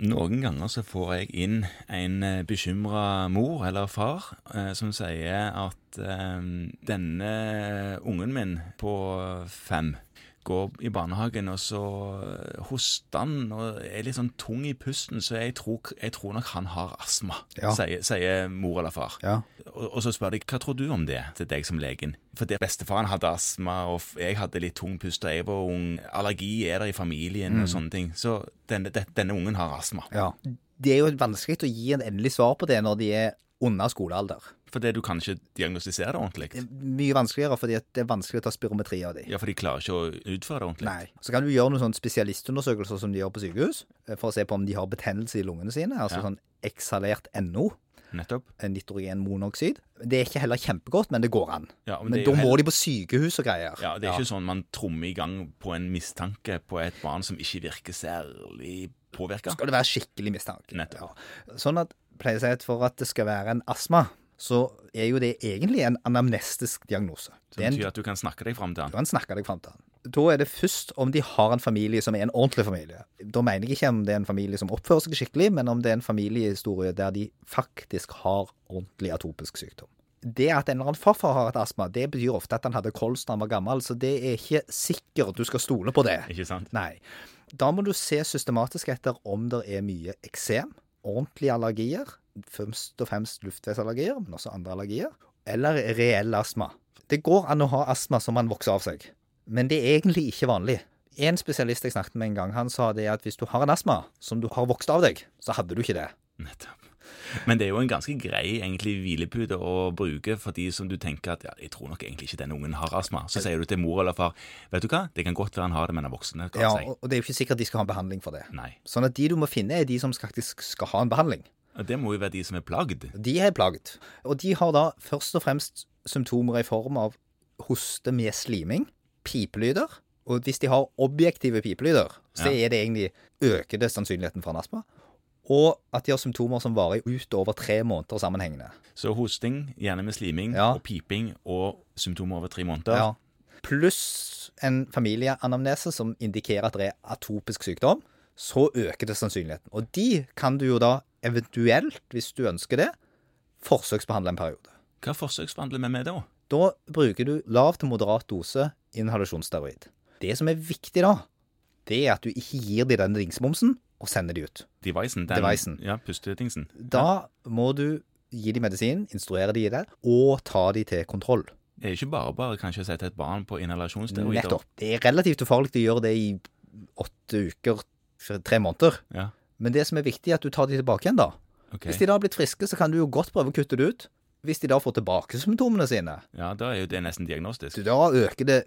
Noen ganger så får jeg inn en bekymra mor eller far eh, som sier at eh, denne ungen min på fem går i barnehagen, og så hoster han og er litt sånn tung i pusten, så jeg tror, jeg tror nok han har astma, Ja. sier, sier mor eller far. Ja. Og, og så spør de hva tror du om det til deg som legen. For det bestefaren hadde astma, og f- jeg hadde litt tung pust da jeg var ung. Allergi er der i familien og sånne ting. Så denne, det, denne ungen har astma. ja. Det er jo vanskelig å gi en endelig svar på det når de er under skolealder. For det du kan ikke diagnostisere det ordentlig. Mye vanskeligere fordi at det er vanskelig å ta spirometri av de. Ja, for de klarer ikke å utføre det ordentlig. Nei. Så kan du gjøre noen sånne spesialistundersøkelser som de gjør på sykehus, eh, for å se på om de har betennelse i lungene sine, altså Ja. sånn eksalert NO, Nettopp. eh, nitrogenmonoksid. Det er ikke heller kjempegodt, men det går an. Ja, men men det er da jo må heller- de på sykehus og greier. Ja, Det er ikke sånn man trommer i gang på en mistanke på et barn som ikke virker særlig påvirka. Skal det være skikkelig mistanke. Nettopp. Ja. Sånn at pleier jeg å si at for at det skal være en astma, så er jo det egentlig en anamnestisk diagnose. Det betyr at du kan snakke deg fram til Du den. kan snakke deg fram til han. Da er det først om de har en familie som er en ordentlig familie. Da mener jeg ikke om det er en familie som oppfører seg skikkelig, men om det er en familiehistorie der de faktisk har ordentlig atopisk sykdom. Det at en eller annen farfar har hatt astma, det betyr ofte at han hadde kols da han var gammel, så det er ikke sikkert du skal stole på det. Ikke sant? Nei. Da må du se systematisk etter om det er mye eksem, ordentlige allergier, først og fremst luftveisallergier, men også andre allergier, eller reell astma. Det går an å ha astma som man vokser av seg, men det er egentlig ikke vanlig. En spesialist jeg snakket med en gang, han sa det at hvis du har en astma som du har vokst av deg, så hadde du ikke det. Nettopp. Men det er jo en ganske grei egentlig hvilepute å bruke for de som du tenker at ja, jeg tror nok egentlig ikke denne ungen har astma. Så sier du til mor eller far vet du hva, det kan godt være han har det, men han er voksen. det kan Ja, jeg si. og og det er jo ikke sikkert de skal ha en behandling for det. Nei. Sånn at de du må finne, er de som faktisk skal ha en behandling. Og Det må jo være de som er plagd. De er plaget. Og de har da først og fremst symptomer i form av hoste med sliming, pipelyder. Og hvis de har objektive pipelyder, så Ja. er det egentlig øker det sannsynligheten for en astma. Og at de har symptomer som varer utover tre måneder sammenhengende. Så hosting, gjerne med sliming Ja. og piping og symptomer over tre måneder. Ja. Pluss en familieanamnese som indikerer at det er atopisk sykdom, så øker det sannsynligheten. Og de kan du jo da eventuelt, hvis du ønsker det, forsøksbehandle en periode. Hva forsøksbehandler vi med da? Da bruker du lav til moderat dose inhalasjonsteroid. Det som er viktig da, det er at du ikke gir dem den ringsmomsen og sender de ut. Devicen? Den, Devicen. Ja, pustetingsen. Da må du gi dem medisin, instruere de i det, og ta de til kontroll. Det er jo ikke bare bare kanskje å sette et barn på inhalasjonsteroider. Nettopp. Det er relativt ufarlig å gjøre det i åtte uker, f- tre måneder. Ja, Men det som er viktig er at du tar de tilbake igjen da. ok. Hvis de da har blitt friske, så kan du jo godt prøve å kutte det ut. Hvis de da får tilbake symptomene sine, Ja, da er jo det nesten diagnostisk. Så da øker det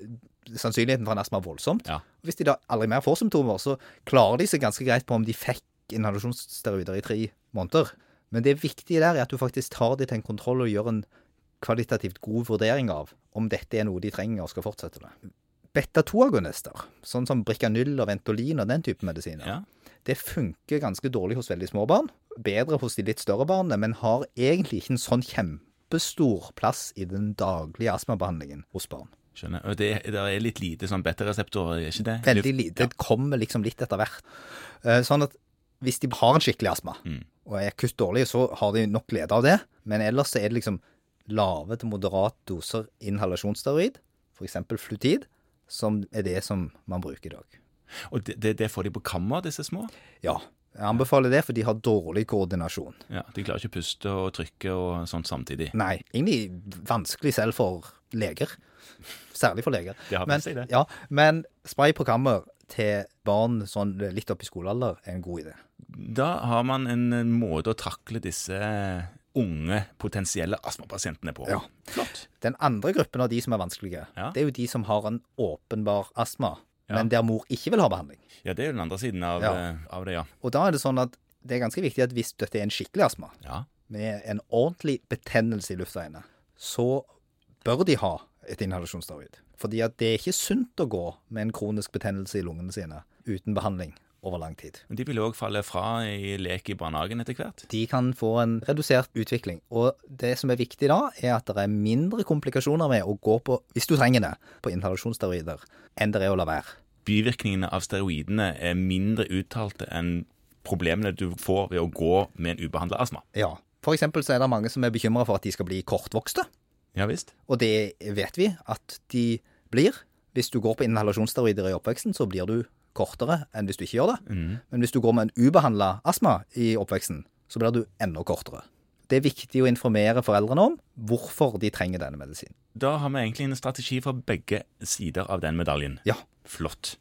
sannsynligheten for en astma voldsomt. Ja. Hvis de da aldri mer får symptomer, så klarer de seg ganske greit på om de fikk inhalasjonsteroider i tre måneder. Men det viktige der er at du faktisk tar det til en kontroll og gjør en kvalitativt god vurdering av om dette er noe de trenger og skal fortsette med. Beta-2-agonister, sånn som Bricanyl og Ventolin og den type medisiner, Ja. det funker ganske dårlig hos veldig små barn. Bedre hos de litt større barna, men har egentlig ikke en sånn kjempestor plass i den daglige astmabehandlingen hos barn. Skjønner. Og det, det er litt lite sånn beta-reseptorer, er ikke det? Veldig lite. Det kommer liksom litt etter hvert. Eh, Sånn at hvis de har en skikkelig astma, og er akutt dårlige, så har de nok glede av det. Men ellers så er det liksom lave til moderat doser inhalasjonsteroid, f.eks. flutid, som er det som man bruker i dag. Og det, det, det får de på kammer, disse små? Ja. Jeg anbefaler det, for de har dårlig koordinasjon. Ja, De klarer ikke å puste og trykke og sånt samtidig. Nei, egentlig vanskelig selv for leger. Særlig for leger. Det har men, med seg det. ja, men spray på kammer til barn sånn litt opp i skolealder er en god idé. Da har man en en måte å takle disse unge potensielle astmapasientene på. Ja. Flott. Den andre gruppen av de som er vanskelige, Ja. det er jo de som har en åpenbar astma, Ja. men der mor ikke vil ha behandling. Ja, det er jo den andre siden av, Ja. eh, av det, ja. Og da er det sånn at det er ganske viktig at hvis dette er en skikkelig astma, ja. med en ordentlig betennelse i luftveiene, så bør de ha et inhalasjonsteroid. Fordi at det er ikke sunt å gå med en kronisk betennelse i lungene sine uten behandling over lang tid. Men De vil òg falle fra i lek i barnehagen etter hvert. De kan få en redusert utvikling. Og det som er viktig da, er at det er mindre komplikasjoner med å gå på, hvis du trenger det, på inhalasjonsteroider enn det er å la være. Bivirkningene av steroidene er mindre uttalte enn problemene du får ved å gå med en ubehandla astma. Ja. For eksempel så er det mange som er bekymra for at de skal bli kortvokste. Ja visst. Og det vet vi at de blir. Hvis du går på inhalasjonsteroider i oppveksten, så blir du kortere enn hvis du ikke gjør det. Mhm. Men hvis du går med en ubehandla astma i oppveksten, så blir du enda kortere. Det er viktig å informere foreldrene om hvorfor de trenger denne medisinen. Da har vi egentlig en strategi for begge sider av den medaljen. Ja. Flott.